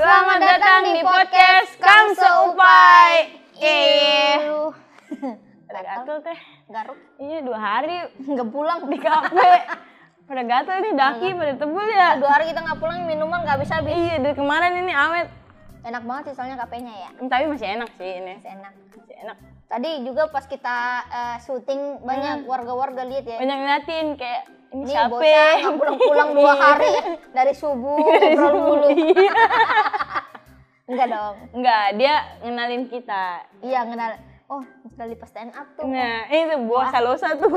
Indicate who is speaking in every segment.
Speaker 1: Selamat datang di podcast Kang Seupai. Eh, pada gatel teh.
Speaker 2: Iya. Garuk
Speaker 1: Iya dua hari
Speaker 2: nggak pulang
Speaker 1: di kafe. Pada gatel ini daki pada tebel ya.
Speaker 2: Dua hari kita nggak pulang minuman nggak habis habis.
Speaker 1: Iya dari kemarin ini awet.
Speaker 2: Enak banget sih soalnya kapenya ya.
Speaker 1: Tapi masih enak sih ini.
Speaker 2: Masih enak.
Speaker 1: Masih enak.
Speaker 2: Tadi juga pas kita eh, syuting banyak warga-warga lihat ya.
Speaker 1: Banyak ngeliatin kayak ini
Speaker 2: Ini
Speaker 1: Hmm. siapa?
Speaker 2: bocah nggak pulang-pulang dua
Speaker 1: Iya.
Speaker 2: hari dari subuh ngobrol mulu.
Speaker 1: Iya.
Speaker 2: Enggak dong.
Speaker 1: Enggak, dia ngenalin kita.
Speaker 2: Iya kenal. Oh dari pas stand up tuh.
Speaker 1: Nah, itu buah salosa tuh.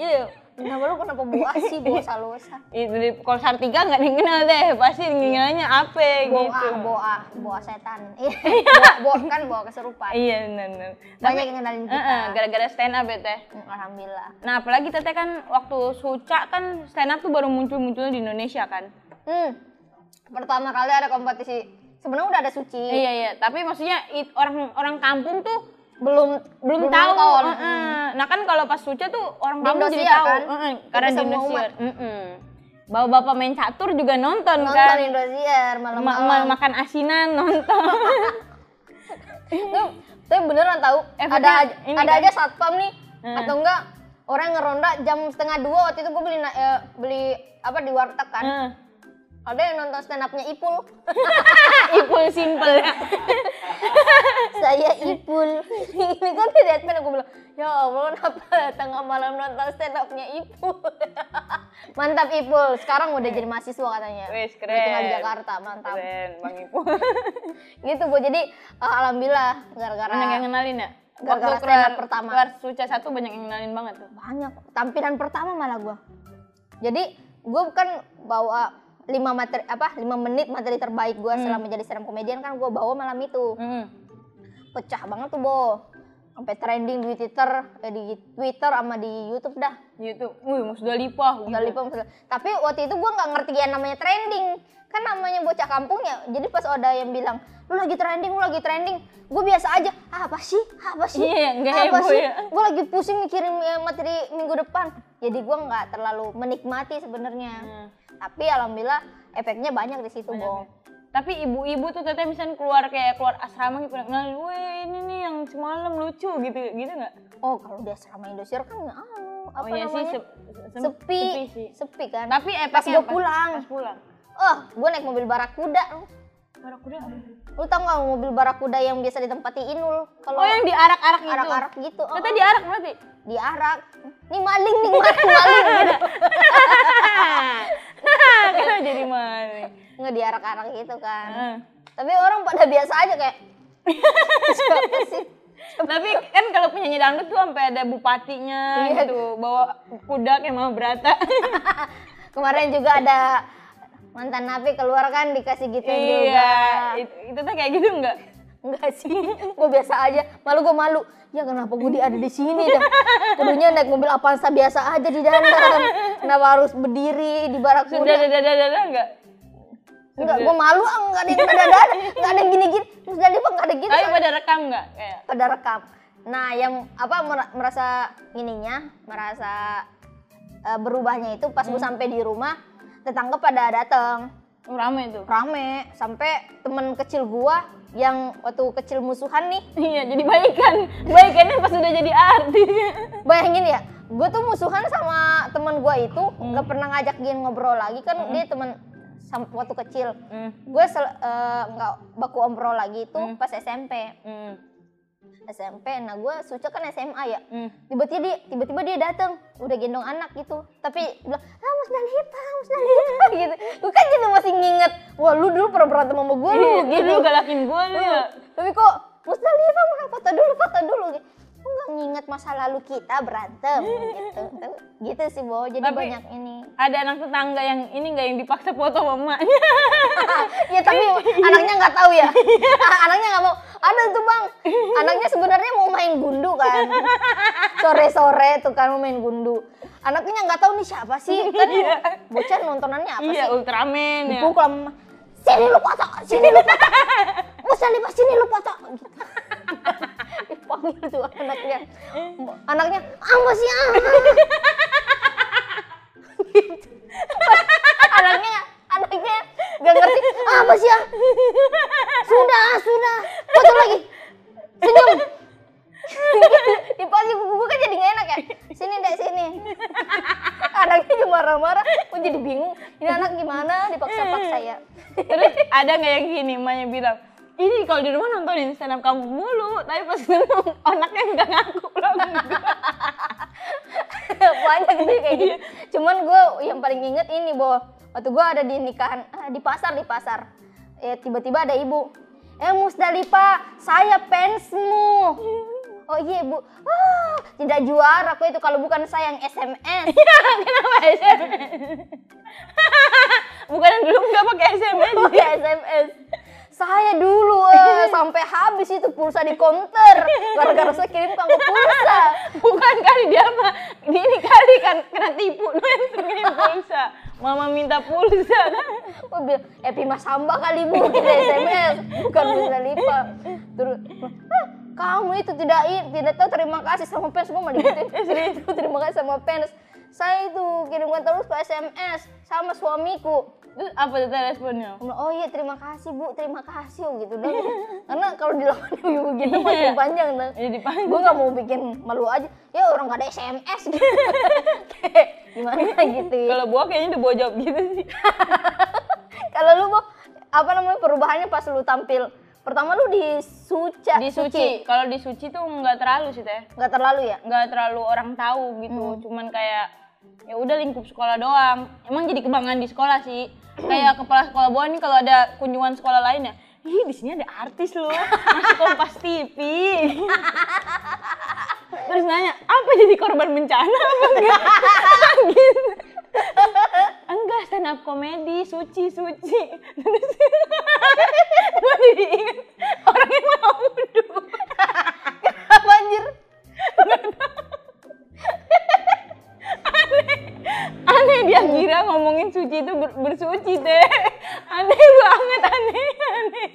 Speaker 1: Iya,
Speaker 2: Kenapa lu kenapa buah sih buah salosa?
Speaker 1: itu di kolsar tiga nggak ada yang kenal deh pasti ngiranya apa
Speaker 2: Boa,
Speaker 1: gitu
Speaker 2: boa, boa setan. Iya, boa, boa kan boa keserupan.
Speaker 1: iya benar tapi
Speaker 2: Banyak yang kenalin kita.
Speaker 1: eh, gara-gara stand up ya teh
Speaker 2: Mm, Alhamdulillah.
Speaker 1: nah apalagi teteh kan waktu suca kan stand up tuh baru muncul munculnya di Indonesia kan
Speaker 2: Hmm. Pertama kali ada kompetisi. Sebenarnya udah ada suci.
Speaker 1: iya iya tapi maksudnya it- orang orang kampung tuh
Speaker 2: Belum
Speaker 1: belum, tahu
Speaker 2: nonton.
Speaker 1: eh, eh. nah kan kalau pas suca tuh orang
Speaker 2: Di
Speaker 1: kampung jadi
Speaker 2: Indosiar
Speaker 1: tahu
Speaker 2: kan?
Speaker 1: eh, eh, karena
Speaker 2: Kita
Speaker 1: di
Speaker 2: semua
Speaker 1: Indonesia bawa bapak main catur juga nonton,
Speaker 2: Nonton
Speaker 1: kan
Speaker 2: Indosiar
Speaker 1: Ma-
Speaker 2: malam-malam.
Speaker 1: ma- makan asinan nonton
Speaker 2: Tuh, Tapi beneran tahu. ada
Speaker 1: Efeknya
Speaker 2: aja-
Speaker 1: ini
Speaker 2: ada
Speaker 1: kan?
Speaker 2: aja satpam nih
Speaker 1: Hmm.
Speaker 2: atau enggak orang ngeronda jam setengah dua waktu itu gue beli na- eh, beli apa di warteg kan.
Speaker 1: Eh.
Speaker 2: Ada yang nonton stand up-nya Ipul.
Speaker 1: Ipul simple ya.
Speaker 2: Saya Ipul. Ini kan di Deadpan aku bilang, "Ya Allah, kenapa tengah malam nonton stand up-nya Ipul?" Mantap Ipul. Sekarang udah jadi mahasiswa katanya.
Speaker 1: Wes
Speaker 2: Tinggal di
Speaker 1: keren.
Speaker 2: Jakarta, mantap.
Speaker 1: Keren Bang Ipul.
Speaker 2: gitu bu jadi eh, alhamdulillah gara-gara
Speaker 1: banyak yang kenalin ya?
Speaker 2: Gara-gara
Speaker 1: Waktu
Speaker 2: stand up
Speaker 1: keluar
Speaker 2: pertama.
Speaker 1: Keluar Suca satu banyak yang kenalin banget tuh.
Speaker 2: banyak tampilan pertama malah gua jadi gua kan bawa lima materi apa lima menit materi terbaik gua selama jadi stand up comedian kan gua bawa malam itu
Speaker 1: Hmm.
Speaker 2: pecah banget tuh bo sampai trending di Twitter eh, di Twitter sama di YouTube dah
Speaker 1: YouTube, wih Mas Dalipah.
Speaker 2: Nggak lupa maksudnya. tapi waktu itu gua nggak ngerti yang namanya trending kan namanya bocah kampung ya jadi pas ada yang bilang lu lagi trending lu lagi trending gue biasa aja "Ah, apa sih Ah, apa sih
Speaker 1: Iya, nggak
Speaker 2: Ah, apa
Speaker 1: heboh
Speaker 2: sih
Speaker 1: ya.
Speaker 2: gue lagi pusing mikirin eh, materi minggu depan jadi gua nggak terlalu menikmati sebenarnya
Speaker 1: Hmm.
Speaker 2: tapi alhamdulillah efeknya banyak di situ bong
Speaker 1: Tapi ibu-ibu tuh teteh misalnya keluar kayak keluar asrama gitu pada kenalin, "Wih, ini nih yang semalam lucu" gitu gitu enggak?
Speaker 2: oh kalau di asrama Indosiar kan nggak ah,
Speaker 1: Oh,
Speaker 2: apa namanya
Speaker 1: sep- sep-
Speaker 2: sepi
Speaker 1: sih.
Speaker 2: sepi kan
Speaker 1: Tapi eh
Speaker 2: pas
Speaker 1: gua
Speaker 2: gue pulang
Speaker 1: Pas pulang.
Speaker 2: oh gue naik mobil barakuda
Speaker 1: Barak kuda.
Speaker 2: lu tau nggak mobil barakuda yang biasa ditempati inul kalau
Speaker 1: Oh, yang diarak-arak gitu.
Speaker 2: arak-arak gitu oh,
Speaker 1: Teteh diarak berarti.
Speaker 2: diarak nih maling nih maling maling gitu.
Speaker 1: Kita jadi Ah. maling.
Speaker 2: nggak diarak-arak gitu kan
Speaker 1: Heeh.
Speaker 2: tapi orang pada biasa aja kayak siapa sih
Speaker 1: Tapi kan kalau penyanyi dangdut tuh sampai ada bupatinya
Speaker 2: Iya.
Speaker 1: gitu, bawa kuda kayak Mama Brata.
Speaker 2: kemarin juga ada mantan napi keluar kan dikasih gitu juga
Speaker 1: iya, itu, itu tuh kayak gitu enggak?
Speaker 2: enggak sih gue biasa aja malu gue malu ya kenapa gue di- ada di sini dah kudunya naik mobil Avanza biasa aja di dalam kenapa harus berdiri di
Speaker 1: Sudah
Speaker 2: barakuda
Speaker 1: dada dada dada enggak?
Speaker 2: enggak gue malu ah enggak ada yang ada ada enggak ada yang gini gini terus dari apa enggak ada gitu
Speaker 1: Tapi pada rekam enggak kayak?
Speaker 2: pada rekam. Nah, yang apa mer- merasa ininya, merasa eh, berubahnya itu pas gue sampai di rumah, tetangga pada datang,
Speaker 1: Oh, rame tuh.
Speaker 2: rame, sampai temen kecil gua yang waktu kecil musuhan nih,
Speaker 1: iya, jadi baikan. Baikannya pas udah jadi artis.
Speaker 2: bayangin ya, gue tuh musuhan sama temen gua itu nggak pernah ngajak dia ngobrol lagi kan dia temen sam- waktu kecil.
Speaker 1: Hmm.
Speaker 2: Gue sel- eh, nggak baku ombrol lagi itu pas SMP,
Speaker 1: Hmm.
Speaker 2: SMP. Nah, gue suca kan SMA ya.
Speaker 1: Hmm.
Speaker 2: tiba-tiba dia tiba-tiba dia datang udah gendong anak gitu tapi bilang ah mas Dalita mas
Speaker 1: Iya.
Speaker 2: Dalita gitu gue kan jadi masih nginget wah lu dulu pernah berantem sama gue lu
Speaker 1: Iya,
Speaker 2: gitu
Speaker 1: Lu galakin gua lu. ya.
Speaker 2: tapi kok mas Dalita mau foto dulu foto dulu gitu Lu nggak nginget masa lalu kita berantem gitu Tapi gitu sih bo jadi
Speaker 1: Iya. Tapi-
Speaker 2: banyak ini
Speaker 1: Ada anak tetangga yang ini enggak yang dipaksa foto sama emaknya.
Speaker 2: ya tapi anaknya nggak tahu ya
Speaker 1: Iya.
Speaker 2: anaknya nggak mau ada tuh bang anaknya sebenarnya mau main gundu kan sore sore tuh kan mau main gundu anaknya nggak tahu nih siapa sih kan
Speaker 1: Iya.
Speaker 2: bocah nontonannya apa
Speaker 1: Iya,
Speaker 2: sih
Speaker 1: Ultraman ya.
Speaker 2: pukul sama sini lu foto sini lu foto Muslimah sini lu foto gitu. dipanggil tuh anaknya anaknya apa sih ah?" Gitu. anaknya nggak ngerti apa sih ya sudah ah, sudah foto lagi senyum dipanggil kuku gue kan jadi gak enak ya sini dek sini anaknya juga marah-marah gue jadi bingung ini anak gimana dipaksa-paksa ya
Speaker 1: Terus ada nggak yang gini, Maya bilang, ini kalau di rumah nontonin stand up kamu mulu, tapi pas ketemu anaknya nggak ngaku loh.
Speaker 2: banyak sih kayak gitu cuman gue yang paling inget ini bahwa waktu gue ada di nikahan ah, di pasar di pasar ya tiba-tiba ada ibu eh Musdalipa saya fansmu oh iya ibu ah, tidak juara aku itu kalau bukan saya yang SMS
Speaker 1: Kenapa SMS? Bukan dulu nggak pakai SMS.
Speaker 2: pakai SMS. Saya dulu eh, sampai habis itu pulsa di konter gara-gara saya kirim kamu pulsa.
Speaker 1: Bukan kali dia mah, dia ini kali kan kena tipu, nulis kirim pulsa. Mama minta pulsa kan.
Speaker 2: Gue bilang, Epi Mas Hamba eh, kali bu, kita SMS, bukan Bunda Lipa. Terus, "Hah, kamu itu tidak i- tidak tahu terima kasih sama fans gue malah digituin. Serius, terima kasih sama fans. Saya itu kirimkan terus ke SMS sama suamiku.
Speaker 1: Terus apa tuh tadi responnya?
Speaker 2: Aku bilang, oh iya terima kasih bu, terima kasih oh, gitu dong. Karena kalau dilakukan ibu gitu makin panjang dong.
Speaker 1: Jadi panjang.
Speaker 2: Gue nggak mau bikin malu aja. Ya orang gak ada SMS gitu. Kayak gimana gitu ya.
Speaker 1: Kalau gua kayaknya udah bawa jawab gitu sih.
Speaker 2: Kalau lu bu, apa namanya perubahannya pas lu tampil? Pertama lu di suca,
Speaker 1: Di suci, kalau di suci tuh nggak terlalu sih teh.
Speaker 2: Gak terlalu ya?
Speaker 1: nggak terlalu orang tahu gitu cuman kayak ya udah lingkup sekolah doang emang jadi kebanggaan di sekolah sih kayak kepala sekolah bawah nih kalau ada kunjungan sekolah lain ya ih di sini ada artis loh masih kompas tv terus nanya apa jadi korban bencana apa enggak gitu enggak stand up komedi suci suci terus gue jadi inget orang yang mau duduk
Speaker 2: Apa anjir?
Speaker 1: aneh dia kira ngomongin suci itu ber- bersuci deh aneh banget aneh aneh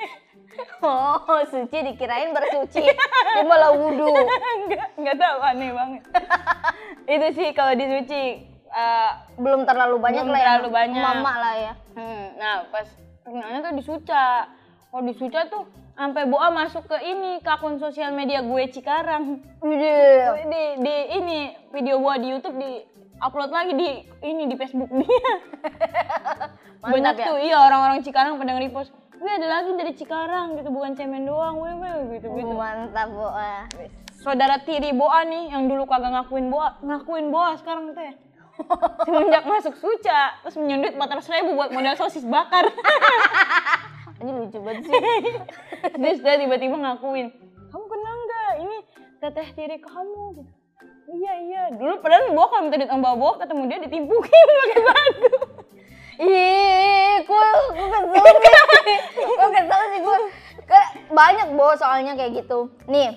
Speaker 2: Oh, suci dikirain bersuci. Dia malah wudhu.
Speaker 1: nggak nggak tahu aneh banget itu sih kalau di suci eh,
Speaker 2: Belum terlalu banyak
Speaker 1: Belum
Speaker 2: lah ya.
Speaker 1: terlalu banyak.
Speaker 2: Mama lah ya.
Speaker 1: hmm, nah pas kenalnya tuh di suca kalau di suca tuh sampai boa masuk ke ini ke akun sosial media gue Cikarang
Speaker 2: Iya.
Speaker 1: di, di ini video boa di YouTube di upload lagi di ini di Facebook dia banyak
Speaker 2: ya.
Speaker 1: tuh iya orang-orang Cikarang pada nge-repost Wih ada lagi dari Cikarang gitu bukan cemen doang weh weh gitu gitu
Speaker 2: Oh. Mantap bu. ah.
Speaker 1: saudara tiri Boa nih yang dulu kagak ngakuin Boa ngakuin Boa sekarang teh semenjak masuk Suca terus menyundut 400 ribu buat modal sosis bakar
Speaker 2: Ini lucu banget sih.
Speaker 1: terus dia tiba-tiba ngakuin kamu kenal nggak ini teteh tiri kamu gitu. iya iya dulu padahal Boa kalau minta duit sama Boa ketemu dia ditimpukin pakai batu
Speaker 2: Ih, gue gue kesel sih. Gue kesel sih gue. Ke- banyak bo soalnya kayak gitu. Nih,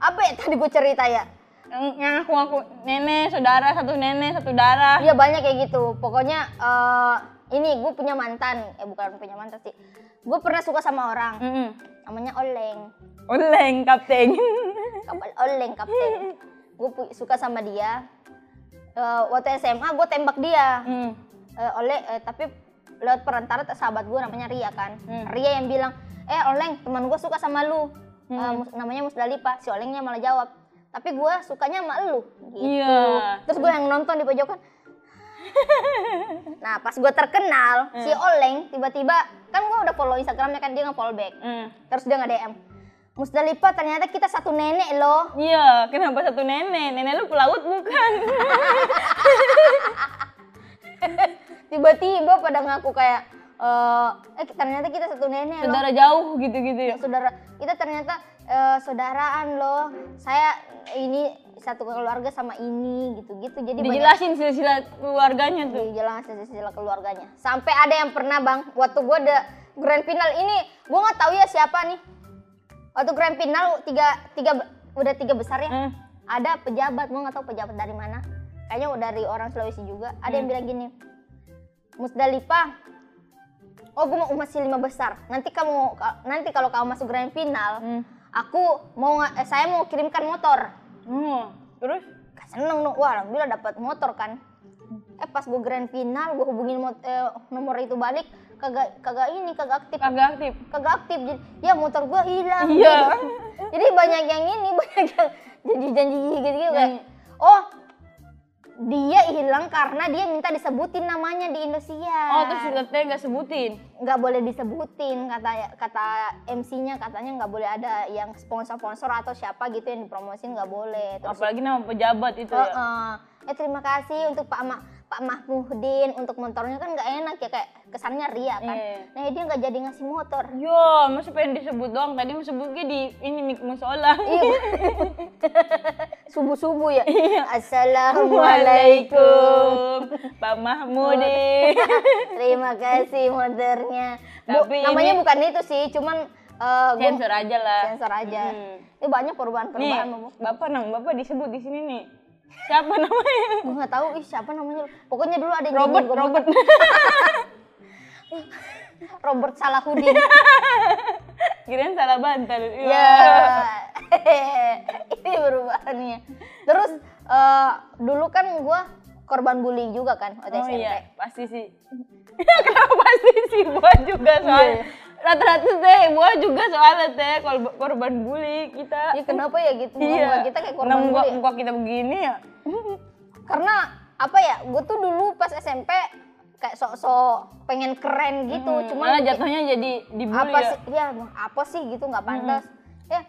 Speaker 2: apa ya tadi gue cerita ya?
Speaker 1: yang, yang aku ngaku nenek saudara satu nenek satu darah
Speaker 2: Iya banyak kayak gitu. Pokoknya eh, ini gue punya mantan. Eh bukan punya mantan sih. Gue pernah suka sama orang.
Speaker 1: Mm-mm.
Speaker 2: Namanya Oleng.
Speaker 1: Oleng kapten.
Speaker 2: Kapal Oleng kapten. Gue pu- suka sama dia. Eh, waktu SMA gue tembak dia.
Speaker 1: Hmm.
Speaker 2: Eh, oleh eh, tapi lewat perantara t- sahabat gue namanya Ria kan
Speaker 1: Hmm.
Speaker 2: Ria yang bilang eh Oleng teman gue suka sama lu Eh,
Speaker 1: Hmm.
Speaker 2: Mus- namanya Musdalipa si Olengnya malah jawab tapi gue sukanya sama lu gitu
Speaker 1: Iya.
Speaker 2: terus gue yang nonton di pojokan nah pas gue terkenal
Speaker 1: Hmm.
Speaker 2: si Oleng tiba-tiba kan gue udah follow Instagramnya kan dia nggak follow back
Speaker 1: Hmm.
Speaker 2: terus dia nggak DM Musdalipa ternyata kita satu nenek loh
Speaker 1: Iya, kenapa satu nenek? Nenek lu pelaut bukan?
Speaker 2: tiba-tiba pada ngaku kayak eh, eh ternyata kita satu nenek loh
Speaker 1: Saudara jauh gitu-gitu ya.
Speaker 2: saudara kita ternyata eh, saudaraan loh saya ini satu keluarga sama ini gitu gitu jadi banyak
Speaker 1: Dijelasin silsilah keluarganya tuh.
Speaker 2: dijelasin sila keluarganya sampai ada yang pernah bang waktu gua ada grand final ini gua nggak tahu ya siapa nih waktu grand final tiga tiga udah tiga besar ya
Speaker 1: Hmm.
Speaker 2: ada pejabat gua nggak tahu pejabat dari mana kayaknya udah dari orang Sulawesi juga ada yang bilang gini Musdalifah oh gue mau masih lima besar nanti kamu nanti kalau kamu masuk grand final
Speaker 1: Hmm.
Speaker 2: aku mau nga- eh, saya mau kirimkan motor
Speaker 1: Hmm. Terus?
Speaker 2: Kan seneng dong wah alhamdulillah dapat motor kan eh pas gue grand final gue hubungin mot- eh, nomor itu balik kagak kagak ini kagak aktif
Speaker 1: kagak aktif
Speaker 2: kagak aktif jadi ya motor gue hilang
Speaker 1: Iya.
Speaker 2: jadi, jadi banyak yang ini banyak yang janji janji gitu gitu kayak
Speaker 1: Yang-
Speaker 2: oh dia hilang karena dia minta disebutin namanya di Indosiar
Speaker 1: oh terus suratnya nggak sebutin
Speaker 2: nggak boleh disebutin kata kata MC-nya katanya nggak boleh ada yang sponsor-sponsor atau siapa gitu yang dipromosin nggak boleh terus
Speaker 1: apalagi nama pejabat itu
Speaker 2: Oh,
Speaker 1: ya
Speaker 2: eh terima kasih untuk Pak Ma Pak Mahmudin untuk motornya kan nggak enak ya kayak kesannya ria kan.
Speaker 1: Iya.
Speaker 2: Nah dia nggak jadi ngasih motor.
Speaker 1: Yo, masa pengen disebut doang. Tadi mau sebutnya di ini mik musola.
Speaker 2: Iya, subuh subuh ya. Assalamualaikum. Oh,
Speaker 1: Pak Mahmudin.
Speaker 2: terima kasih motornya. Bu,
Speaker 1: Tapi
Speaker 2: namanya
Speaker 1: ini-
Speaker 2: bukan itu sih, cuman eh, gua
Speaker 1: Sensor aja lah.
Speaker 2: sensor aja.
Speaker 1: Hmm.
Speaker 2: Ini
Speaker 1: Nih,
Speaker 2: banyak perubahan-perubahan. Bu.
Speaker 1: bapak nama bapak disebut di sini nih. Siapa namanya?
Speaker 2: Gua nggak tahu ih siapa namanya. Pokoknya dulu ada yang
Speaker 1: Robert,
Speaker 2: nyebut gua-
Speaker 1: Robert.
Speaker 2: Robert Salahuddin.
Speaker 1: Kirain salah bantal. Iya.
Speaker 2: Ya. Ini perubahannya. Terus eh, dulu kan gua korban bully juga kan waktu
Speaker 1: Oh
Speaker 2: SMP.
Speaker 1: iya, pasti sih. Kenapa pasti sih? Gua juga
Speaker 2: Iya.
Speaker 1: soalnya. Rata-rata teh, gua juga soalnya teh kol- korban bully kita.
Speaker 2: Ya, kenapa ya gitu? Muka- muka kita kayak korban
Speaker 1: Nah, muka,
Speaker 2: bully.
Speaker 1: muka kita begini ya.
Speaker 2: Karena apa ya? Gue tuh dulu pas SMP kayak sok-sok pengen keren gitu,
Speaker 1: Hmm,
Speaker 2: cuma
Speaker 1: malah jatuhnya jadi dibully
Speaker 2: apa
Speaker 1: ya.
Speaker 2: sih? Ya, emang apa sih gitu nggak pantas. Ya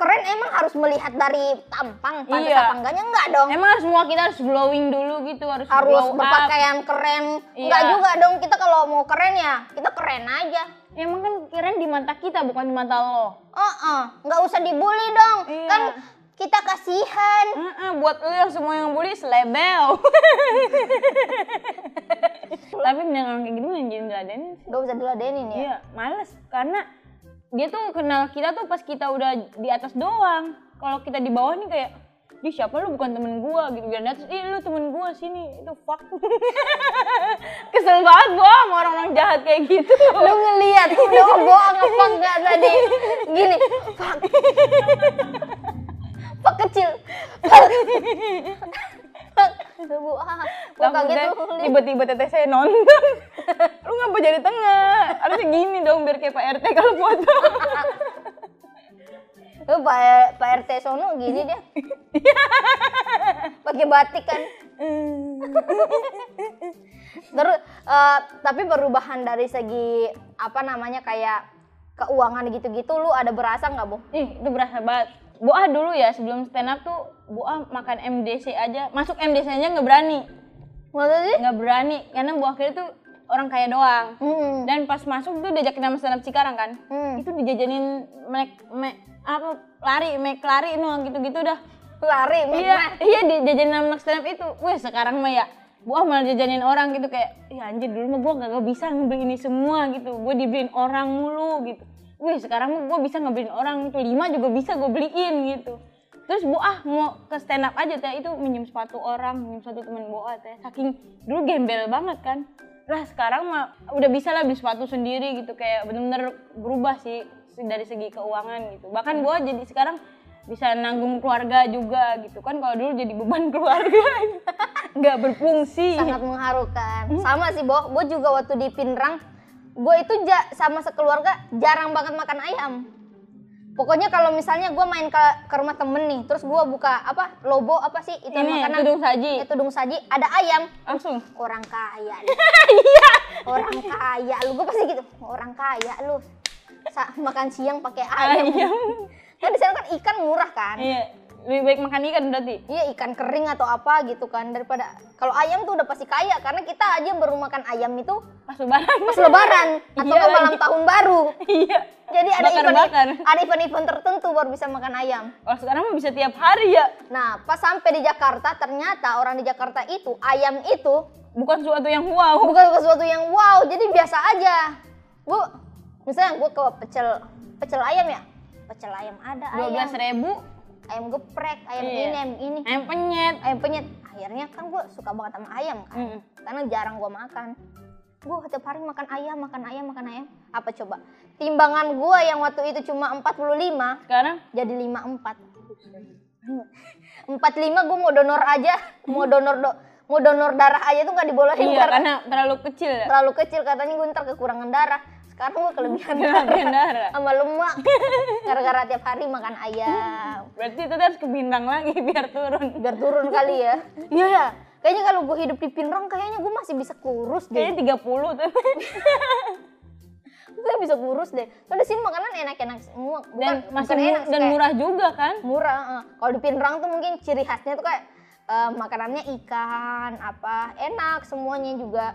Speaker 2: keren emang harus melihat dari tampang pantas
Speaker 1: Iya.
Speaker 2: apa enggaknya enggak dong
Speaker 1: Emang semua kita harus glowing dulu gitu, harus,
Speaker 2: harus
Speaker 1: glow up.
Speaker 2: berpakaian keren
Speaker 1: Iya.
Speaker 2: enggak juga dong kita kalau mau keren ya kita keren aja
Speaker 1: Emang kan keren di mata kita bukan di mata lo.
Speaker 2: Oh, oh, nggak usah dibully dong.
Speaker 1: Iya.
Speaker 2: Kan kita kasihan.
Speaker 1: Heeh, buat lo yang semua yang bully selebel. Tapi dengan kayak gini mending jadi ngeladenin sih.
Speaker 2: Nggak usah diladenin ya.
Speaker 1: Iya, males karena dia tuh kenal kita tuh pas kita udah di atas doang. Kalau kita di bawah nih kayak di siapa lu bukan temen gua gitu biar di atas ih lu temen gua sini itu fuck kesel banget gua sama orang-orang jahat kayak gitu
Speaker 2: Lu ngeliat udah bohong apa enggak tadi? Gini, pak, pak kecil, pak, pak, bu, ah, gua kaget
Speaker 1: Takutnya
Speaker 2: tuh. ngeliat.
Speaker 1: tiba-tiba teteh saya nonton lu ngapa jadi tengah harusnya gini dong biar kayak pak rt kalau foto
Speaker 2: Lu Eh, pak, pak RT Sono gini dia, pakai batik kan. Terus eh, tapi perubahan dari segi apa namanya kayak keuangan gitu-gitu lu ada berasa nggak, Bu?
Speaker 1: ih itu berasa banget Boah dulu ya sebelum stand up tuh Boah makan MDC aja masuk MDC aja nggak berani
Speaker 2: Maksudnya sih?
Speaker 1: nggak berani karena Boah kira tuh orang kaya doang
Speaker 2: Hmm.
Speaker 1: dan pas masuk tuh diajakin sama stand up Cikarang kan
Speaker 2: Hmm.
Speaker 1: itu dijajanin mek, mek apa lari mek lari no gitu-gitu dah
Speaker 2: Lari,
Speaker 1: iya
Speaker 2: Mak.
Speaker 1: iya di jajanin sama anak stand up itu wah sekarang mah ya gua malah jajanin orang gitu kayak ya anjir dulu mah gua gak bisa ngebeli ini semua gitu gua dibeliin orang mulu gitu wih sekarang mah gua bisa ngebeliin orang itu lima juga bisa gua beliin gitu terus bu ah mau ke stand up aja teh itu minjem sepatu orang minjem sepatu temen gua teh saking dulu gembel banget kan lah sekarang mah udah bisa lah beli sepatu sendiri gitu kayak bener-bener berubah sih dari segi keuangan gitu bahkan gua jadi sekarang bisa nanggung keluarga juga gitu kan kalau dulu jadi beban keluarga nggak berfungsi
Speaker 2: Sangat mengharukan. Sama sih, Bo. Bo juga waktu di Pinrang, gue itu ja- sama sekeluarga jarang banget makan ayam. Pokoknya kalau misalnya gue main ke, ke rumah temen nih, terus gue buka apa lobo apa sih itu
Speaker 1: ini
Speaker 2: makanan
Speaker 1: tudung saji
Speaker 2: Eh, tudung saji ada ayam
Speaker 1: langsung
Speaker 2: orang kaya nih. orang kaya lu gue pasti gitu orang kaya lu Sa- makan siang pakai ayam,
Speaker 1: ayam
Speaker 2: kan di sana kan ikan murah kan
Speaker 1: iya lebih baik makan ikan berarti
Speaker 2: Iya ikan kering atau apa gitu kan daripada kalau ayam tuh udah pasti kaya karena kita aja baru makan ayam itu
Speaker 1: pas lebaran
Speaker 2: pas lebaran atau
Speaker 1: Iya
Speaker 2: ke malam
Speaker 1: lagi.
Speaker 2: tahun baru.
Speaker 1: iya
Speaker 2: Jadi ada event
Speaker 1: Bakar-bakar.
Speaker 2: ada event-event tertentu baru bisa makan ayam.
Speaker 1: kalau sekarang mah bisa tiap hari ya
Speaker 2: Nah, pas sampai di Jakarta ternyata orang di Jakarta itu ayam itu
Speaker 1: bukan suatu yang wow
Speaker 2: bukan sesuatu yang wow, jadi biasa aja. Gue misalnya gue ke pecel pecel ayam ya, pecel ayam ada
Speaker 1: dua
Speaker 2: ayam,
Speaker 1: belas ribu
Speaker 2: ayam geprek, ayam
Speaker 1: Iya.
Speaker 2: ini, ayam ini,
Speaker 1: ayam penyet
Speaker 2: ayam penyet. Akhirnya kan gue suka banget sama ayam kan.
Speaker 1: Mm.
Speaker 2: karena jarang gue makan gue tiap hari makan ayam makan ayam makan ayam apa coba timbangan gue yang waktu itu cuma 45
Speaker 1: sekarang
Speaker 2: jadi 54 45 gue mau donor aja mau donor do, mau donor darah aja tuh nggak dibolehin
Speaker 1: Iya,
Speaker 2: karena
Speaker 1: karena terlalu kecil ya.
Speaker 2: terlalu kecil katanya gue ntar kekurangan darah sekarang gue kelebihan darah
Speaker 1: Kelebihan darah.
Speaker 2: sama lemak gara-gara tiap hari makan ayam
Speaker 1: Berarti itu harus ke bintang lagi biar turun.
Speaker 2: biar turun kali ya iya ya kayaknya kalau gue hidup di Pinrang kayaknya gue masih bisa kurus deh
Speaker 1: Kayaknya 30 tuh.
Speaker 2: gue bisa kurus deh soalnya di sini makanan enak-enak semua Bukan-
Speaker 1: Dan masih
Speaker 2: bukan
Speaker 1: mu-
Speaker 2: enak sih,
Speaker 1: dan
Speaker 2: kayak
Speaker 1: murah juga kan?
Speaker 2: murah eh. kalau di Pinrang tuh mungkin ciri khasnya tuh kayak eh, makanannya ikan apa enak semuanya juga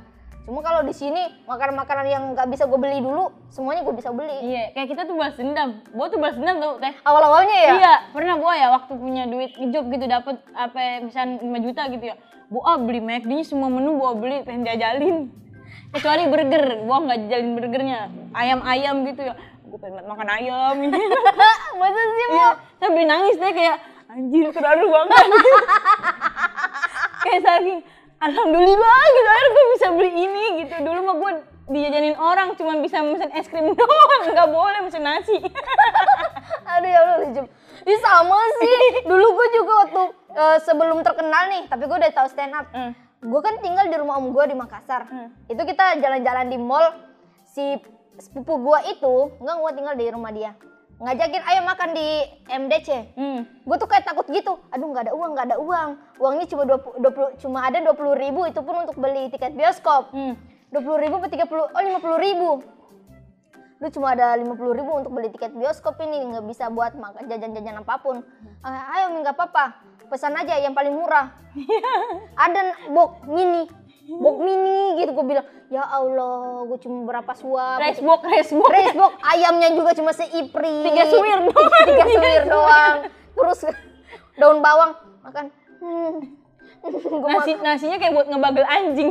Speaker 2: cuma kalau di sini makanan makanan yang nggak bisa gue beli dulu semuanya gue bisa beli
Speaker 1: Iya, kayak kita tuh balas dendam. Gua tuh balas dendam tuh, Teh.
Speaker 2: awal-awalnya ya
Speaker 1: Iya, pernah gua ya waktu punya duit ngejob gitu dapat apa ya, misalnya 5 juta gitu ya. Gua ah, beli McD -nya semua menu gua beli pengen jajalin. Kecuali burger, gua nggak jajalin burgernya. Ayam-ayam gitu ya. Gua pengen banget makan ayam ini.
Speaker 2: masa sih
Speaker 1: Iya, sambil nangis deh kayak anjir terharu banget. kayak saking alhamdulillah gitu akhirnya gue bisa beli ini gitu. Dulu mah gue dijajanin orang cuma bisa mesen es krim doang, nggak boleh mesen nasi.
Speaker 2: Aduh ya Allah lucu. Ih sama sih. Dulu gue juga waktu eh, sebelum terkenal nih, tapi gue udah tahu stand up.
Speaker 1: Hmm.
Speaker 2: Gue kan tinggal di rumah om gue di Makassar.
Speaker 1: Hmm.
Speaker 2: Itu kita jalan-jalan di mall. Si sepupu gue itu nggak gue tinggal di rumah dia. Ngajakin ayo makan di MDC.
Speaker 1: hmm.
Speaker 2: Gue tuh kayak takut gitu. Aduh nggak ada uang, nggak ada uang. Uangnya cuma 20, 20 cuma ada 20 ribu itu pun untuk beli tiket bioskop
Speaker 1: Hmm.
Speaker 2: dua puluh ribu apa tiga oh lima puluh ribu lu cuma ada lima puluh ribu untuk beli tiket bioskop ini nggak bisa buat makan jajan-jajan apapun Ah, ayo Mi, nggak apa-apa pesan aja yang paling murah ada bok mini bok mini gitu gue bilang ya allah gue cuma berapa suap
Speaker 1: Rice box, rice box.
Speaker 2: Rice box ayamnya juga cuma seipri
Speaker 1: Tiga suwir doang.
Speaker 2: tiga suwir doang terus daun bawang makan hmm. Gua
Speaker 1: Nasi, nasinya kayak buat ngebagel anjing.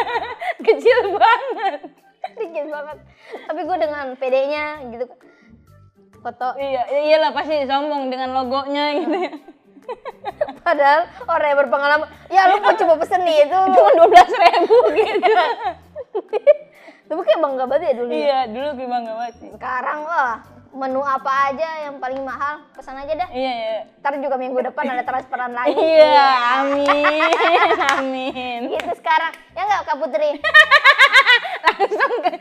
Speaker 1: Kecil banget.
Speaker 2: dikit banget tapi gue dengan pd-nya gitu foto
Speaker 1: Iya, iyalah pasti sombong dengan logonya gitu. ya.
Speaker 2: Hmm. padahal orang yang berpengalaman ya lu pun cuma pesen nih itu
Speaker 1: Cuma 12 ribu gitu.
Speaker 2: tapi kayak bangga banget ya dulu ya.
Speaker 1: iya, dulu gue bangga banget sih.
Speaker 2: sekarang wah menu apa aja yang paling mahal pesan aja dah
Speaker 1: Iya, iya.
Speaker 2: ntar juga minggu depan ada transferan lagi
Speaker 1: Iya, amin, amin.
Speaker 2: gitu sekarang ya nggak kak putri
Speaker 1: Langsung ke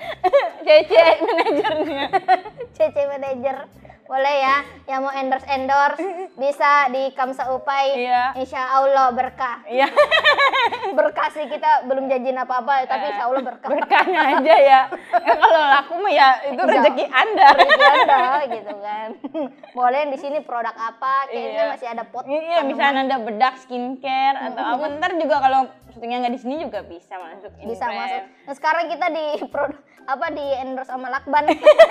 Speaker 1: CC manajernya.
Speaker 2: cc manager boleh ya yang mau endorse endorse bisa di kamsa upai
Speaker 1: Iya.
Speaker 2: insya allah berkah
Speaker 1: Iya,
Speaker 2: berkah sih kita belum janjiin apa
Speaker 1: Eh.
Speaker 2: apa tapi insya allah berkah
Speaker 1: berkahnya aja ya. ya kalau laku mah ya itu rezeki Anda.
Speaker 2: rezeki Anda gitu kan. Boleh di sini produk apa? Kayaknya
Speaker 1: Iya.
Speaker 2: masih ada pot.
Speaker 1: Iya, bisa Anda bedak skincare
Speaker 2: Hmm.
Speaker 1: atau apa ntar juga kalau syutingnya nggak di sini juga bisa masuk.
Speaker 2: Bisa
Speaker 1: Inframe.
Speaker 2: masuk. Nah, sekarang kita di produk apa di endorse sama Lakban. Lakban.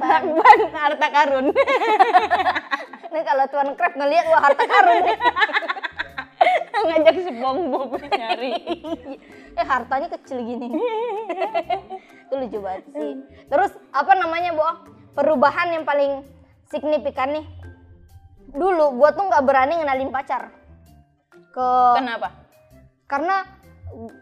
Speaker 1: Lakban harta karun.
Speaker 2: Ini kalau Tuan Crab ngeliat wah harta karun.
Speaker 1: Ngajak si Bob nyari.
Speaker 2: eh hartanya kecil gini. Itu lucu banget sih. Terus apa namanya, Bo? Perubahan yang paling signifikan nih. Dulu gua tuh nggak berani ngenalin pacar ke
Speaker 1: Oh. Kenapa?
Speaker 2: karena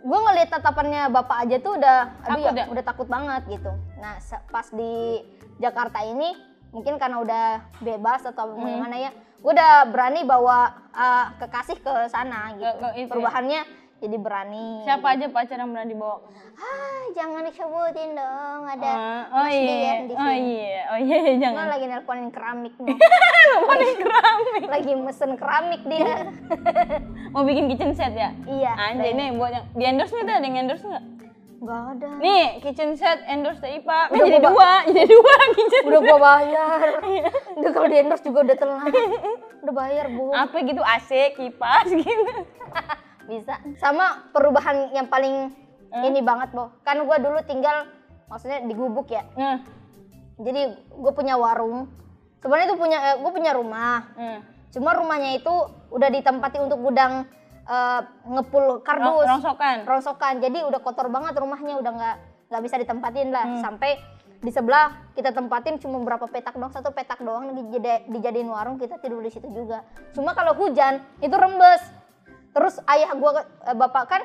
Speaker 2: gue ngeliat tatapannya bapak aja tuh udah aduh
Speaker 1: Takut
Speaker 2: ya,
Speaker 1: ya?
Speaker 2: udah takut banget gitu nah se- pas di Jakarta ini mungkin karena udah bebas atau
Speaker 1: Hmm.
Speaker 2: gimana ya gue udah berani bawa uh, kekasih ke sana gitu
Speaker 1: Ke- ke itu ya?
Speaker 2: perubahannya jadi berani
Speaker 1: Siapa aja pacar yang pernah dibawa?
Speaker 2: ah jangan disebutin dong ada
Speaker 1: Oh, oh
Speaker 2: Mas
Speaker 1: iya,
Speaker 2: Dian di
Speaker 1: oh
Speaker 2: sini.
Speaker 1: iya, oh iya, jangan.
Speaker 2: Gua lagi nelponin keramik nih lagi mesen keramik dia
Speaker 1: Mau bikin kitchen set ya?
Speaker 2: Iya,
Speaker 1: Anjay nih buat yang di endorse nih tuh ada yang endorse nggak?
Speaker 2: nggak ada
Speaker 1: Nih kitchen set endorse TI Pak. Kan
Speaker 2: Udah
Speaker 1: jadi
Speaker 2: gua ba-
Speaker 1: dua, jadi dua kitchen.
Speaker 2: udah gua bayar udah kalau di endorse juga udah telat udah bayar bu
Speaker 1: Apa gitu AC kipas gitu.
Speaker 2: bisa sama perubahan yang paling ini banget bu kan gua dulu tinggal maksudnya di gubuk ya
Speaker 1: Nah,
Speaker 2: jadi gue punya warung sebenarnya itu punya gue punya rumah
Speaker 1: hmm.
Speaker 2: cuma rumahnya itu udah ditempati untuk gudang eh, ngepul
Speaker 1: Ro-
Speaker 2: kardus
Speaker 1: rongsokan.
Speaker 2: rongsokan jadi udah kotor banget rumahnya udah nggak nggak bisa ditempatin lah sampai di sebelah kita tempatin cuma berapa petak doang satu petak doang dijeda- dijadiin warung kita tidur di situ juga cuma kalau hujan itu rembes terus ayah gua ke- eh, bapak kan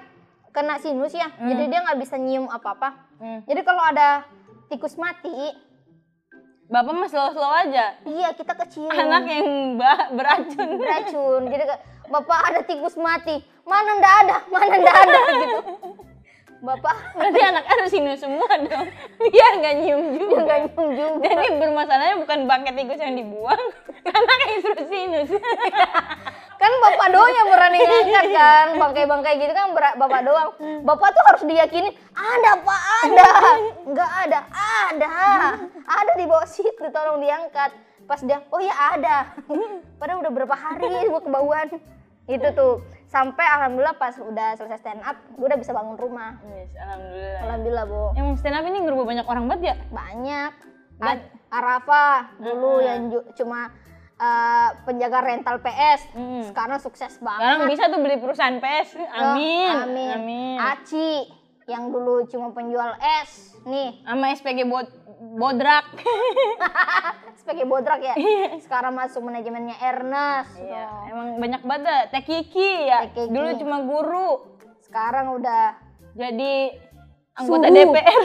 Speaker 2: kena sinus ya jadi dia nggak bisa nyium apa apa
Speaker 1: Hmm.
Speaker 2: jadi kalau ada tikus mati
Speaker 1: Bapak mah slow-slow aja.
Speaker 2: Iya, kita kecil.
Speaker 1: Anak yang ba- beracun.
Speaker 2: beracun. Jadi kayak, "Bapak ada tikus mati." "Mana ndak ada? Mana ndak ada?" gitu. Bapak
Speaker 1: Berarti anak harus sinus semua dong. Biar nggak nyium juga.
Speaker 2: enggak nyung juga.
Speaker 1: Jadi bermasalahnya bukan bangkai tikus yang dibuang, karena terus sinus.
Speaker 2: Kan bapak doang yang berani ngangkat kan, bangkai-bangkai gitu kan ber- bapak doang. Bapak tuh harus diyakini, ada pak, ada. Enggak ada, ada. Ada di bawah situ, tolong diangkat. Pas dia, oh ya ada. Padahal udah berapa hari gue kebauan. Itu tuh, sampai alhamdulillah pas udah selesai stand up, gue udah bisa bangun rumah.
Speaker 1: Yes, alhamdulillah.
Speaker 2: Alhamdulillah, Bu.
Speaker 1: Yang stand up ini ngerubah banyak orang banget ya?
Speaker 2: banyak
Speaker 1: Dan-
Speaker 2: A- Arafa dulu
Speaker 1: Mm-mm.
Speaker 2: yang ju- cuma eh, penjaga rental PS
Speaker 1: Mm.
Speaker 2: sekarang sukses banget
Speaker 1: Sekarang bisa tuh beli perusahaan PS.
Speaker 2: Loh,
Speaker 1: Amin.
Speaker 2: amin
Speaker 1: Amin.
Speaker 2: Aci yang dulu cuma penjual es nih
Speaker 1: Sama SPG bod bodrak.
Speaker 2: sebagai bodrak ya sekarang masuk manajemennya Ernest
Speaker 1: Iya,
Speaker 2: Tuh.
Speaker 1: emang banyak banget. dah. Teh Kiki ya.
Speaker 2: Teh Kiki.
Speaker 1: Dulu cuma guru.
Speaker 2: sekarang udah
Speaker 1: Jadi anggota
Speaker 2: Suhu.
Speaker 1: DPR.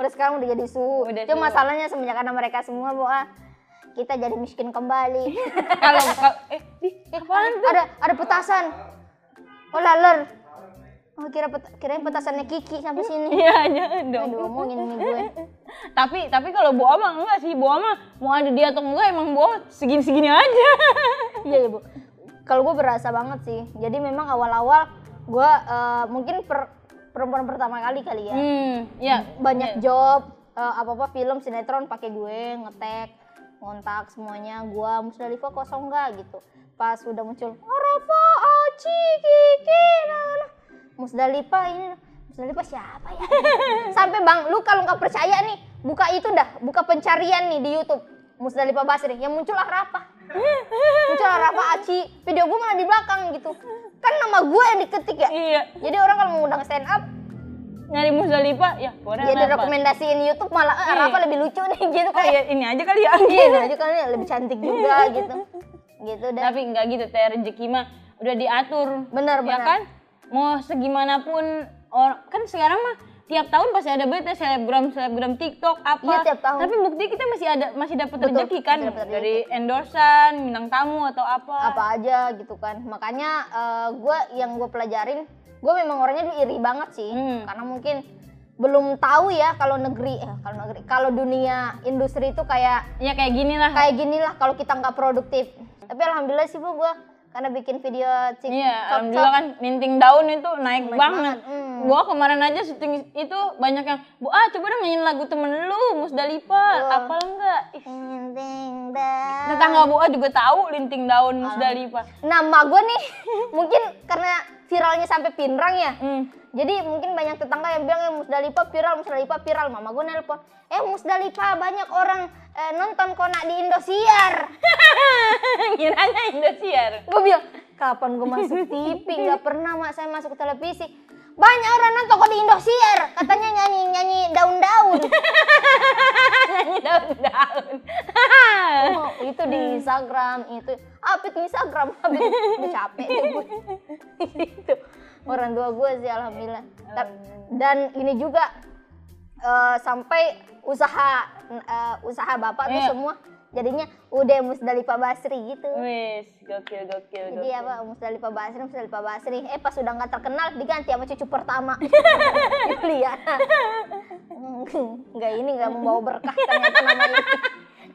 Speaker 2: udah sekarang udah jadi suhu
Speaker 1: Udah
Speaker 2: cuma
Speaker 1: suhu.
Speaker 2: masalahnya semenjak ada mereka semua bu ah, kita jadi miskin kembali
Speaker 1: Kalau kalau- eh di apaan?
Speaker 2: ada ada petasan oh laler oh kira peta, kirain petasannya Kiki sampai sini
Speaker 1: Iya, jangan dong.
Speaker 2: Aduh, ngomongin nih gue.
Speaker 1: tapi tapi kalau Boa mah enggak sih Boa mah mau ada dia atau enggak emang Boa segini-segini aja
Speaker 2: Iya, iya, Bu. Kalau gue berasa banget sih. Jadi memang awal-awal gue eh, mungkin per- perempuan pertama kali kali ya.
Speaker 1: hmm ya
Speaker 2: Banyak job, eh, apa-apa film, sinetron pakai gue, ngetek, kontak semuanya. Gue Musdalifah kosong nggak gitu. Pas udah muncul, "Oh, Arafa, Aci, Kiki, nah, nah. Musdalifah ini, Musdalifah siapa ya? Sampai bang, lu kalau nggak percaya nih, buka itu dah, buka pencarian nih di YouTube. Musdalifah Basri, yang muncul Arafa. muncul Rafa Aci video gue malah di belakang gitu kan nama gue yang diketik ya
Speaker 1: iya
Speaker 2: jadi orang kalau mengundang stand up
Speaker 1: nyari Musdalifah ya Boa
Speaker 2: jadi
Speaker 1: kenapa?
Speaker 2: rekomendasiin YouTube malah eh,
Speaker 1: Iya.
Speaker 2: Rafa lebih lucu nih gitu
Speaker 1: oh
Speaker 2: kayak
Speaker 1: iya ini aja kali ya
Speaker 2: gitu aja kan ya, lebih cantik juga gitu gitu dan
Speaker 1: tapi enggak gitu teh rezeki mah udah diatur
Speaker 2: benar
Speaker 1: ya
Speaker 2: benar
Speaker 1: kan mau segimanapun orang kan sekarang mah tiap tahun pasti ada berita selebgram selebgram TikTok apa
Speaker 2: Iya, tiap tahun.
Speaker 1: tapi bukti kita masih ada masih dapat
Speaker 2: Betul,
Speaker 1: rezeki kan
Speaker 2: masih dapat
Speaker 1: dari endorsan bintang tamu atau
Speaker 2: apa aja gitu kan makanya gue yang gue pelajarin gue memang orangnya dulu iri banget sih
Speaker 1: Hmm.
Speaker 2: karena mungkin belum tahu ya kalau negeri eh, kalau negeri kalau dunia industri itu kayak
Speaker 1: ya kayak gini lah
Speaker 2: kayak gini lah kalau kita nggak produktif tapi alhamdulillah sih bu gue karena bikin video TikTok
Speaker 1: Iya, alhamdulillah kan ninting daun itu naik banget.
Speaker 2: banget, mm.
Speaker 1: Gua kemarin aja syuting itu banyak yang, "Bu, ah coba dong nyanyiin lagu temen lu, Musdalifah,
Speaker 2: Wah.
Speaker 1: apal enggak?" Ih,
Speaker 2: tentang
Speaker 1: Tetangga Bu ah juga tahu linting daun
Speaker 2: Ah.
Speaker 1: Musdalifah.
Speaker 2: nama gue nih mungkin karena viralnya sampai pinrang ya
Speaker 1: Hmm.
Speaker 2: jadi mungkin banyak tetangga yang bilang ya Musdalifah viral Musdalifah viral mama gue nelpon eh Musdalifah banyak orang eh, nonton kona di Indosiar
Speaker 1: Kiranya Indosiar.
Speaker 2: gue bilang kapan gue masuk TV nggak pernah mak saya masuk televisi banyak orang nonton kok di Indosiar katanya nyanyi nyanyi daun-daun
Speaker 1: Nyanyi daun-daun.
Speaker 2: Oh, itu di Instagram itu Ah, update di Instagram update udah capek tuh gue itu orang tua gue sih alhamdulillah Ta- dan ini juga eh, sampai usaha eh, usaha bapak tuh
Speaker 1: Iya.
Speaker 2: semua jadinya udah Musdalifah Basri gitu
Speaker 1: Wis, gokil gokil
Speaker 2: jadi ya,
Speaker 1: gokil.
Speaker 2: apa Musdalifah Basri Musdalifah Basri eh pas udah nggak terkenal diganti sama cucu pertama Juliana nggak ini nggak membawa berkah ternyata namanya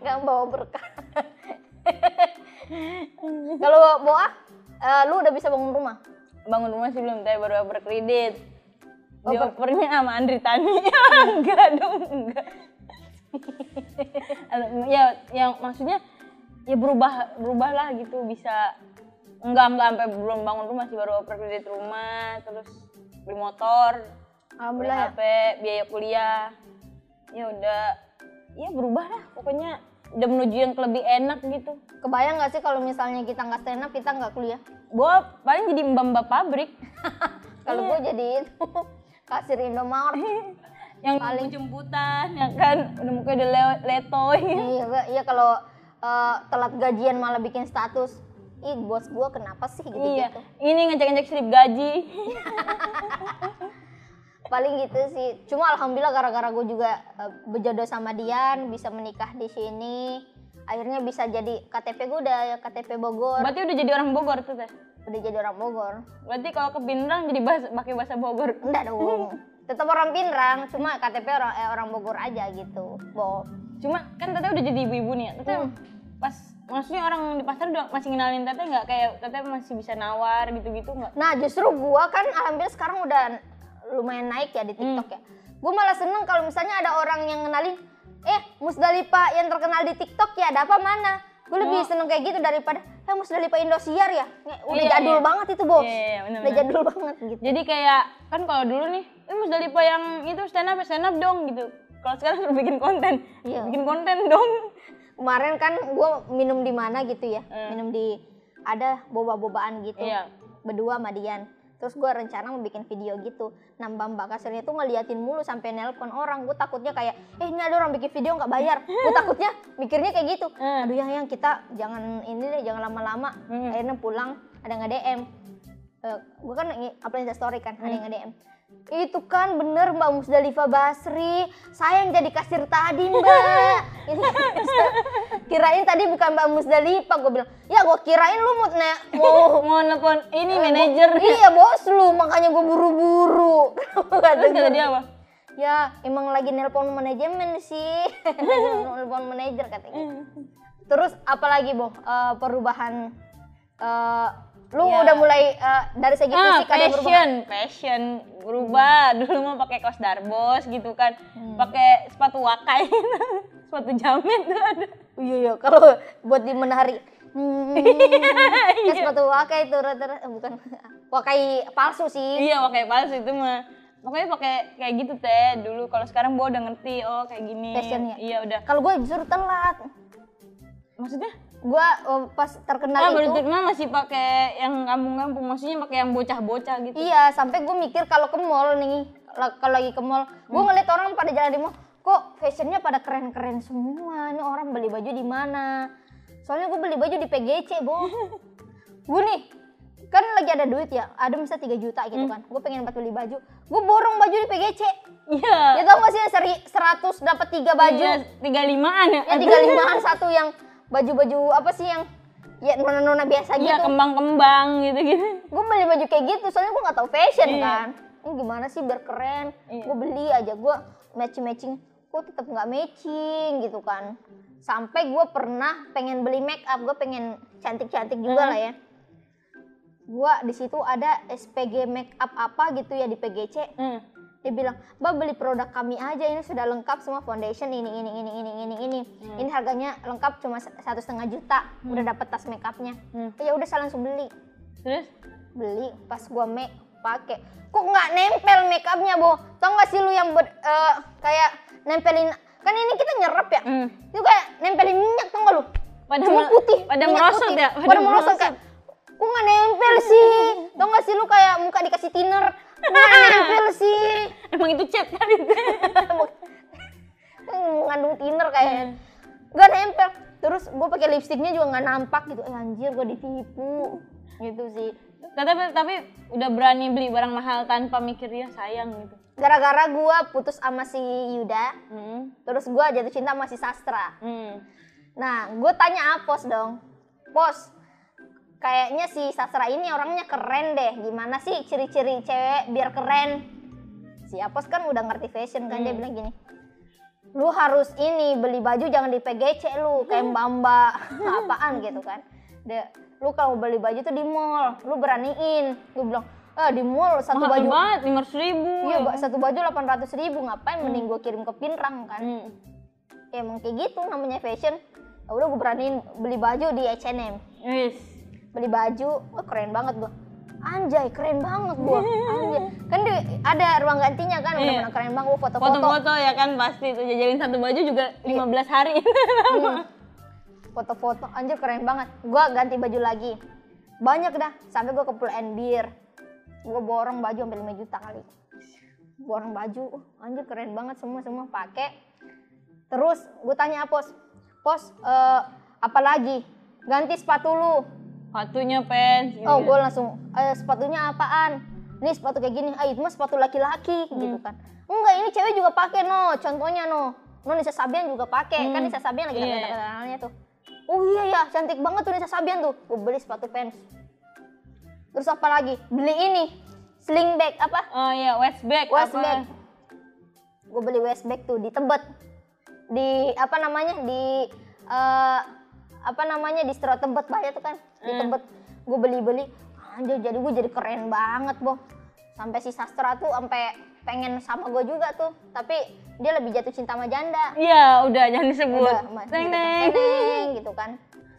Speaker 2: nggak membawa berkah kalau Boa eh, lu udah bisa bangun rumah
Speaker 1: Bangun rumah sih belum, tapi baru over kredit.
Speaker 2: Oh, ber-
Speaker 1: Diopernya sama Andri Tani. enggak dong, enggak. Al- ya yang maksudnya ya berubah berubahlah gitu bisa enggak enggak sampai belum bangun rumah sih baru oper kredit rumah terus beli motor beli
Speaker 2: alhamdulillah ya
Speaker 1: HP biaya kuliah ya udah ya berubah lah pokoknya udah menuju yang lebih enak gitu
Speaker 2: kebayang nggak sih kalau misalnya kita nggak stand up kita nggak kuliah
Speaker 1: gua paling jadi mbak mbak pabrik
Speaker 2: kalau gue jadi itu kasir Indomart
Speaker 1: yang paling jemputan ya kan udah mukanya udah le- letoy
Speaker 2: iya gua- iya kalau eh, telat gajian malah bikin status ih bos gue kenapa sih gitu
Speaker 1: iya
Speaker 2: gitu
Speaker 1: ini ngecek ngecek slip gaji
Speaker 2: paling gitu sih cuma alhamdulillah gara-gara gue juga eh, berjodoh sama Dian bisa menikah di sini akhirnya bisa jadi KTP gue udah ya, KTP Bogor
Speaker 1: Berarti udah jadi orang Bogor tuh teh.
Speaker 2: udah jadi orang Bogor
Speaker 1: Berarti kalau ke Pindrang jadi bahasa pakai bahasa Bogor.
Speaker 2: enggak dong tetap orang Pinrang cuma KTP orang eh, orang Bogor aja gitu Bob
Speaker 1: Cuma kan teteh udah jadi ibu-ibu nih ya. Teteh
Speaker 2: Hmm.
Speaker 1: pas maksudnya orang di pasar udah masih ngenalin teteh nggak kayak teteh masih bisa nawar gitu-gitu nggak?
Speaker 2: Nah justru gua kan alhamdulillah sekarang udah lumayan naik ya di
Speaker 1: Hmm.
Speaker 2: TikTok ya. Gua malah seneng kalau misalnya ada orang yang kenalin, eh Musdalifah yang terkenal di TikTok ya, ada apa mana? Gue lebih
Speaker 1: Oh.
Speaker 2: seneng kayak gitu daripada, eh Musdalifah Indosiar ya, Nge- udah
Speaker 1: Iya,
Speaker 2: jadul
Speaker 1: iya.
Speaker 2: banget itu bos,
Speaker 1: Iya, iya, benar,
Speaker 2: udah
Speaker 1: benar.
Speaker 2: jadul banget gitu.
Speaker 1: Jadi kayak kan kalau dulu nih, ini Musdalifah yang itu stand up stand up dong gitu. Kalau sekarang suruh bikin konten,
Speaker 2: Iya.
Speaker 1: bikin konten dong.
Speaker 2: Kemarin kan gua minum di mana gitu ya,
Speaker 1: Hmm.
Speaker 2: minum di ada boba-bobaan gitu.
Speaker 1: Iya.
Speaker 2: berdua sama Dian terus gue rencana mau bikin video gitu nah mbak mbak kasirnya tuh ngeliatin mulu sampai nelpon orang gue takutnya kayak eh ini ada orang bikin video nggak bayar gue takutnya mikirnya kayak gitu
Speaker 1: Hmm.
Speaker 2: aduh yang yang kita jangan ini deh jangan lama-lama
Speaker 1: Hmm.
Speaker 2: akhirnya pulang ada nggak DM gue kan nge- upload story kan ada yang
Speaker 1: Hmm.
Speaker 2: nge DM itu kan bener Mbak Musdalifah Basri saya yang jadi kasir tadi Mbak Gitu. Ini, kirain tadi bukan Mbak Musdalifah gue bilang ya gue kirain lu mau ne- mau
Speaker 1: Mau nelpon ini manajer.
Speaker 2: Iya bos lu, makanya gue buru-buru.
Speaker 1: Terus
Speaker 2: Kata
Speaker 1: kata
Speaker 2: gua,
Speaker 1: dia apa?
Speaker 2: Ya emang lagi nelpon manajemen sih, nelpon manajer
Speaker 1: Hmm.
Speaker 2: katanya. Terus apalagi boh eh, perubahan eh, lu
Speaker 1: Iya.
Speaker 2: udah mulai eh, dari segi
Speaker 1: ah,
Speaker 2: fisik ada perubahan.
Speaker 1: fashion, fashion berubah. Dulu mah pakai kaos darbos gitu kan, pakai sepatu wakai, sepatu jamet tuh ada.
Speaker 2: Iya iya kalau buat di menari. Hmm, kan sepatu wakai itu rata-rata eh, bukan wakai palsu sih.
Speaker 1: Iya, pakai palsu itu mah. Pokoknya pakai kayak gitu teh dulu. Kalau sekarang gua udah ngerti, oh kayak gini.
Speaker 2: Fashion ya?
Speaker 1: Iya udah.
Speaker 2: Kalau gue justru telat.
Speaker 1: Maksudnya?
Speaker 2: Gue eh, pas
Speaker 1: Ah,
Speaker 2: terkenal itu
Speaker 1: berarti mah masih pakai yang kampung-kampung, maksudnya pakai yang bocah-bocah gitu.
Speaker 2: Iya, sampai gue mikir kalau ke mall nih, la- kalau lagi ke mall,
Speaker 1: Hmm.
Speaker 2: gue ngeliat orang pada jalan di mall, kok fashionnya pada keren-keren semua. Ini orang beli baju di mana? Soalnya gue beli baju di PGC, Bo. gue nih, kan lagi ada duit ya, ada misalnya 3 juta gitu
Speaker 1: Hmm.
Speaker 2: kan. Gue pengen buat beli baju, gue borong baju di PGC. Ya
Speaker 1: Iya.
Speaker 2: tau gak sih yang seri 100 dapat 3 baju?
Speaker 1: Iya, tiga limaan ya.
Speaker 2: Yang 35 satu yang baju-baju apa sih yang ya nona-nona biasa
Speaker 1: Iya,
Speaker 2: gitu.
Speaker 1: kembang-kembang gitu-gitu.
Speaker 2: gue beli baju kayak gitu soalnya gue nggak tahu fashion
Speaker 1: Iya.
Speaker 2: kan ini gimana sih biar keren
Speaker 1: Iya.
Speaker 2: gue beli aja gue matching matching gue tetap nggak matching gitu kan sampai gue pernah pengen beli make up gue pengen cantik cantik
Speaker 1: Hmm.
Speaker 2: juga lah ya gue di situ ada SPG make up apa gitu ya di PGC
Speaker 1: Hmm.
Speaker 2: dia bilang mbak beli produk kami aja ini sudah lengkap semua foundation ini ini ini ini ini ini
Speaker 1: Hmm.
Speaker 2: ini harganya lengkap cuma satu setengah juta udah dapet tas make upnya
Speaker 1: Hmm.
Speaker 2: ya udah saya langsung beli
Speaker 1: Terus
Speaker 2: beli pas gua make pakai kok nggak nempel make upnya boh tau gak sih lu yang ber- eh, kayak nempelin kan ini kita nyerap ya
Speaker 1: Hmm.
Speaker 2: itu kayak nempelin minyak tau gak lu
Speaker 1: Pada
Speaker 2: cuma
Speaker 1: mer-
Speaker 2: putih
Speaker 1: pada
Speaker 2: minyak
Speaker 1: merosot
Speaker 2: putih.
Speaker 1: ya,
Speaker 2: pada,
Speaker 1: pada
Speaker 2: merosot
Speaker 1: merosot.
Speaker 2: kayak kok nggak nempel sih tau gak sih lu kayak muka dikasih thinner Kok nggak nempel sih
Speaker 1: emang itu chat kali Teh?
Speaker 2: Hmm, mengandung thinner kayaknya nggak nempel terus gua pakai lipstiknya juga nggak nampak gitu eh, anjir gua ditipu gitu sih
Speaker 1: tapi tapi udah berani beli barang mahal tanpa mikir dia sayang gitu
Speaker 2: gara-gara gua putus sama si Yuda
Speaker 1: hmm.
Speaker 2: Terus gue jatuh cinta sama si sastra.
Speaker 1: Hmm.
Speaker 2: Nah, gue tanya Apos dong. Pos, kayaknya si sastra ini orangnya keren deh. Gimana sih ciri-ciri cewek biar keren? Si Apos kan udah ngerti fashion kan dia bilang gini. Lu harus ini beli baju jangan di PGC lu kayak Bamba apaan gitu kan. Dia, lu kalau beli baju tuh di mall, lu beraniin. Gue bilang, "Ah, di mall satu
Speaker 1: mahal
Speaker 2: baju
Speaker 1: banget lima ribu
Speaker 2: Iya, ba- satu baju 800 ribu ngapain mending gue kirim ke Pinrang kan
Speaker 1: hmm.
Speaker 2: ya emang kayak gitu namanya fashion ya udah gue beraniin beli baju di H&M
Speaker 1: Wis.
Speaker 2: beli baju oh keren banget gue anjay keren banget gue anjay kan di, ada ruang gantinya kan udah
Speaker 1: Iya.
Speaker 2: bener keren banget gue foto-foto
Speaker 1: foto-foto ya kan pasti tuh jajalin satu baju juga
Speaker 2: Iya.
Speaker 1: 15 hari
Speaker 2: foto-foto anjir keren banget gue ganti baju lagi banyak dah sampai gue ke Pulau Enbir gue borong baju hampir 5 juta kali borong baju uh, anjir keren banget semua semua pakai terus gue tanya pos pos eh, apa lagi ganti sepatu lu
Speaker 1: Sepatunya pants gitu
Speaker 2: Oh,
Speaker 1: ya.
Speaker 2: gue langsung eh, sepatunya apaan? nih sepatu kayak gini ah itu mah sepatu laki-laki
Speaker 1: Hmm.
Speaker 2: gitu kan enggak ini cewek juga pakai no contohnya no no Nisa Sabian juga pakai kan
Speaker 1: Hmm.
Speaker 2: Nisa Sabian lagi
Speaker 1: Iya,
Speaker 2: yeah.
Speaker 1: iya.
Speaker 2: terkenalnya tuh oh iya ya cantik banget tuh Nisa Sabian tuh gue beli sepatu pants terus apa lagi beli ini sling bag apa
Speaker 1: Oh iya, Westback.
Speaker 2: Westback. gue beli Westback tuh di Tebet di apa namanya di eh, apa namanya di Stro Tebet banyak tuh kan di
Speaker 1: Hmm.
Speaker 2: Tebet gue beli-beli anjir jadi gue jadi keren banget boh sampai si sastra tuh sampai pengen sama gue juga tuh tapi dia lebih jatuh cinta sama janda
Speaker 1: Iya, udah jangan disebut.
Speaker 2: Udah, ma-
Speaker 1: Neng
Speaker 2: gitu kan.
Speaker 1: neng.
Speaker 2: Teneng, gitu kan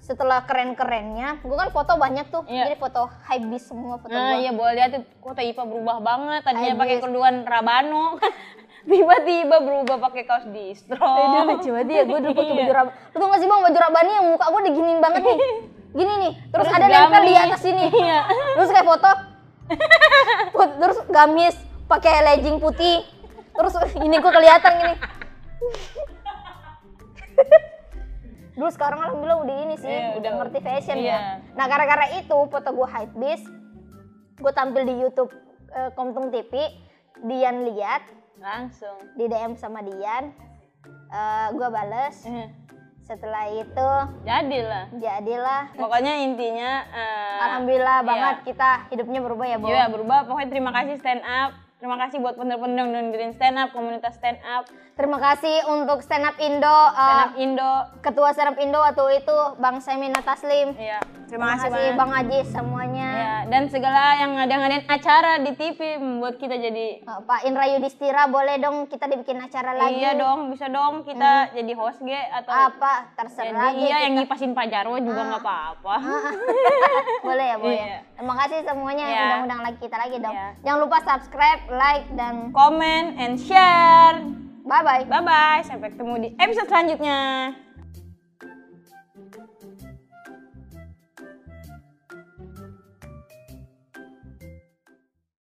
Speaker 2: setelah keren-kerennya gue kan foto banyak tuh
Speaker 1: Iya.
Speaker 2: jadi foto high beast semua foto
Speaker 1: Nah,
Speaker 2: gue
Speaker 1: iya boleh lihat tuh kota IPA berubah banget. Tadinya
Speaker 2: Aduh.
Speaker 1: pakai kerduan Rabano kan tiba-tiba berubah pakai kaos
Speaker 2: Aduh
Speaker 1: distro.
Speaker 2: lucu banget ya, gue dulu pakai
Speaker 1: Oh. Iya.
Speaker 2: baju rabani. Lu tau gak sih bang, baju rabani yang muka gue diginiin banget nih. Gini nih, terus, ada
Speaker 1: gamis.
Speaker 2: nempel di atas sini.
Speaker 1: Iya.
Speaker 2: Terus kayak foto, Put- terus gamis, pakai legging putih. Terus ini gue kelihatan gini. dulu sekarang alhamdulillah udah ini sih,
Speaker 1: Iya,
Speaker 2: udah
Speaker 1: udah.
Speaker 2: ngerti fashion
Speaker 1: Iya.
Speaker 2: ya. Nah gara-gara itu foto gue hype beast, gue tampil di YouTube eh, Komtung TV, Dian lihat,
Speaker 1: Langsung.
Speaker 2: di DM sama Dian gue bales
Speaker 1: Eh,
Speaker 2: setelah itu
Speaker 1: Jadilah.
Speaker 2: jadilah
Speaker 1: Pokoknya intinya eh,
Speaker 2: alhamdulillah
Speaker 1: iya.
Speaker 2: banget kita hidupnya berubah ya Bo
Speaker 1: Iya, berubah. Pokoknya terima kasih stand up. Terima kasih buat pendeng-pendeng dan green stand up, komunitas stand up,
Speaker 2: terima kasih untuk stand up Indo eh,
Speaker 1: stand up Indo.
Speaker 2: ketua stand up Indo waktu itu Bang Semina Taslim
Speaker 1: Iya. Terima
Speaker 2: terima
Speaker 1: kasih
Speaker 2: kasih
Speaker 1: banget.
Speaker 2: Bang Aji semuanya
Speaker 1: Iya, dan segala yang ngadain acara di TV membuat kita jadi
Speaker 2: Eh, Pak Indra Yudhistira boleh dong kita dibikin acara lagi
Speaker 1: Iya dong, bisa dong kita jadi host ge atau
Speaker 2: Hmm. apa
Speaker 1: jadi
Speaker 2: terserah aja
Speaker 1: iya yang
Speaker 2: kita. Ah.
Speaker 1: ngipasin Pak Jarwo juga nggak apa-apa.
Speaker 2: boleh ya boleh
Speaker 1: Iya.
Speaker 2: terima kasih semuanya
Speaker 1: Iya.
Speaker 2: undang-undang lagi kita lagi dong
Speaker 1: Iya.
Speaker 2: jangan lupa subscribe like dan
Speaker 1: Comment and share.
Speaker 2: bye bye
Speaker 1: Bye bye, sampai ketemu di episode selanjutnya.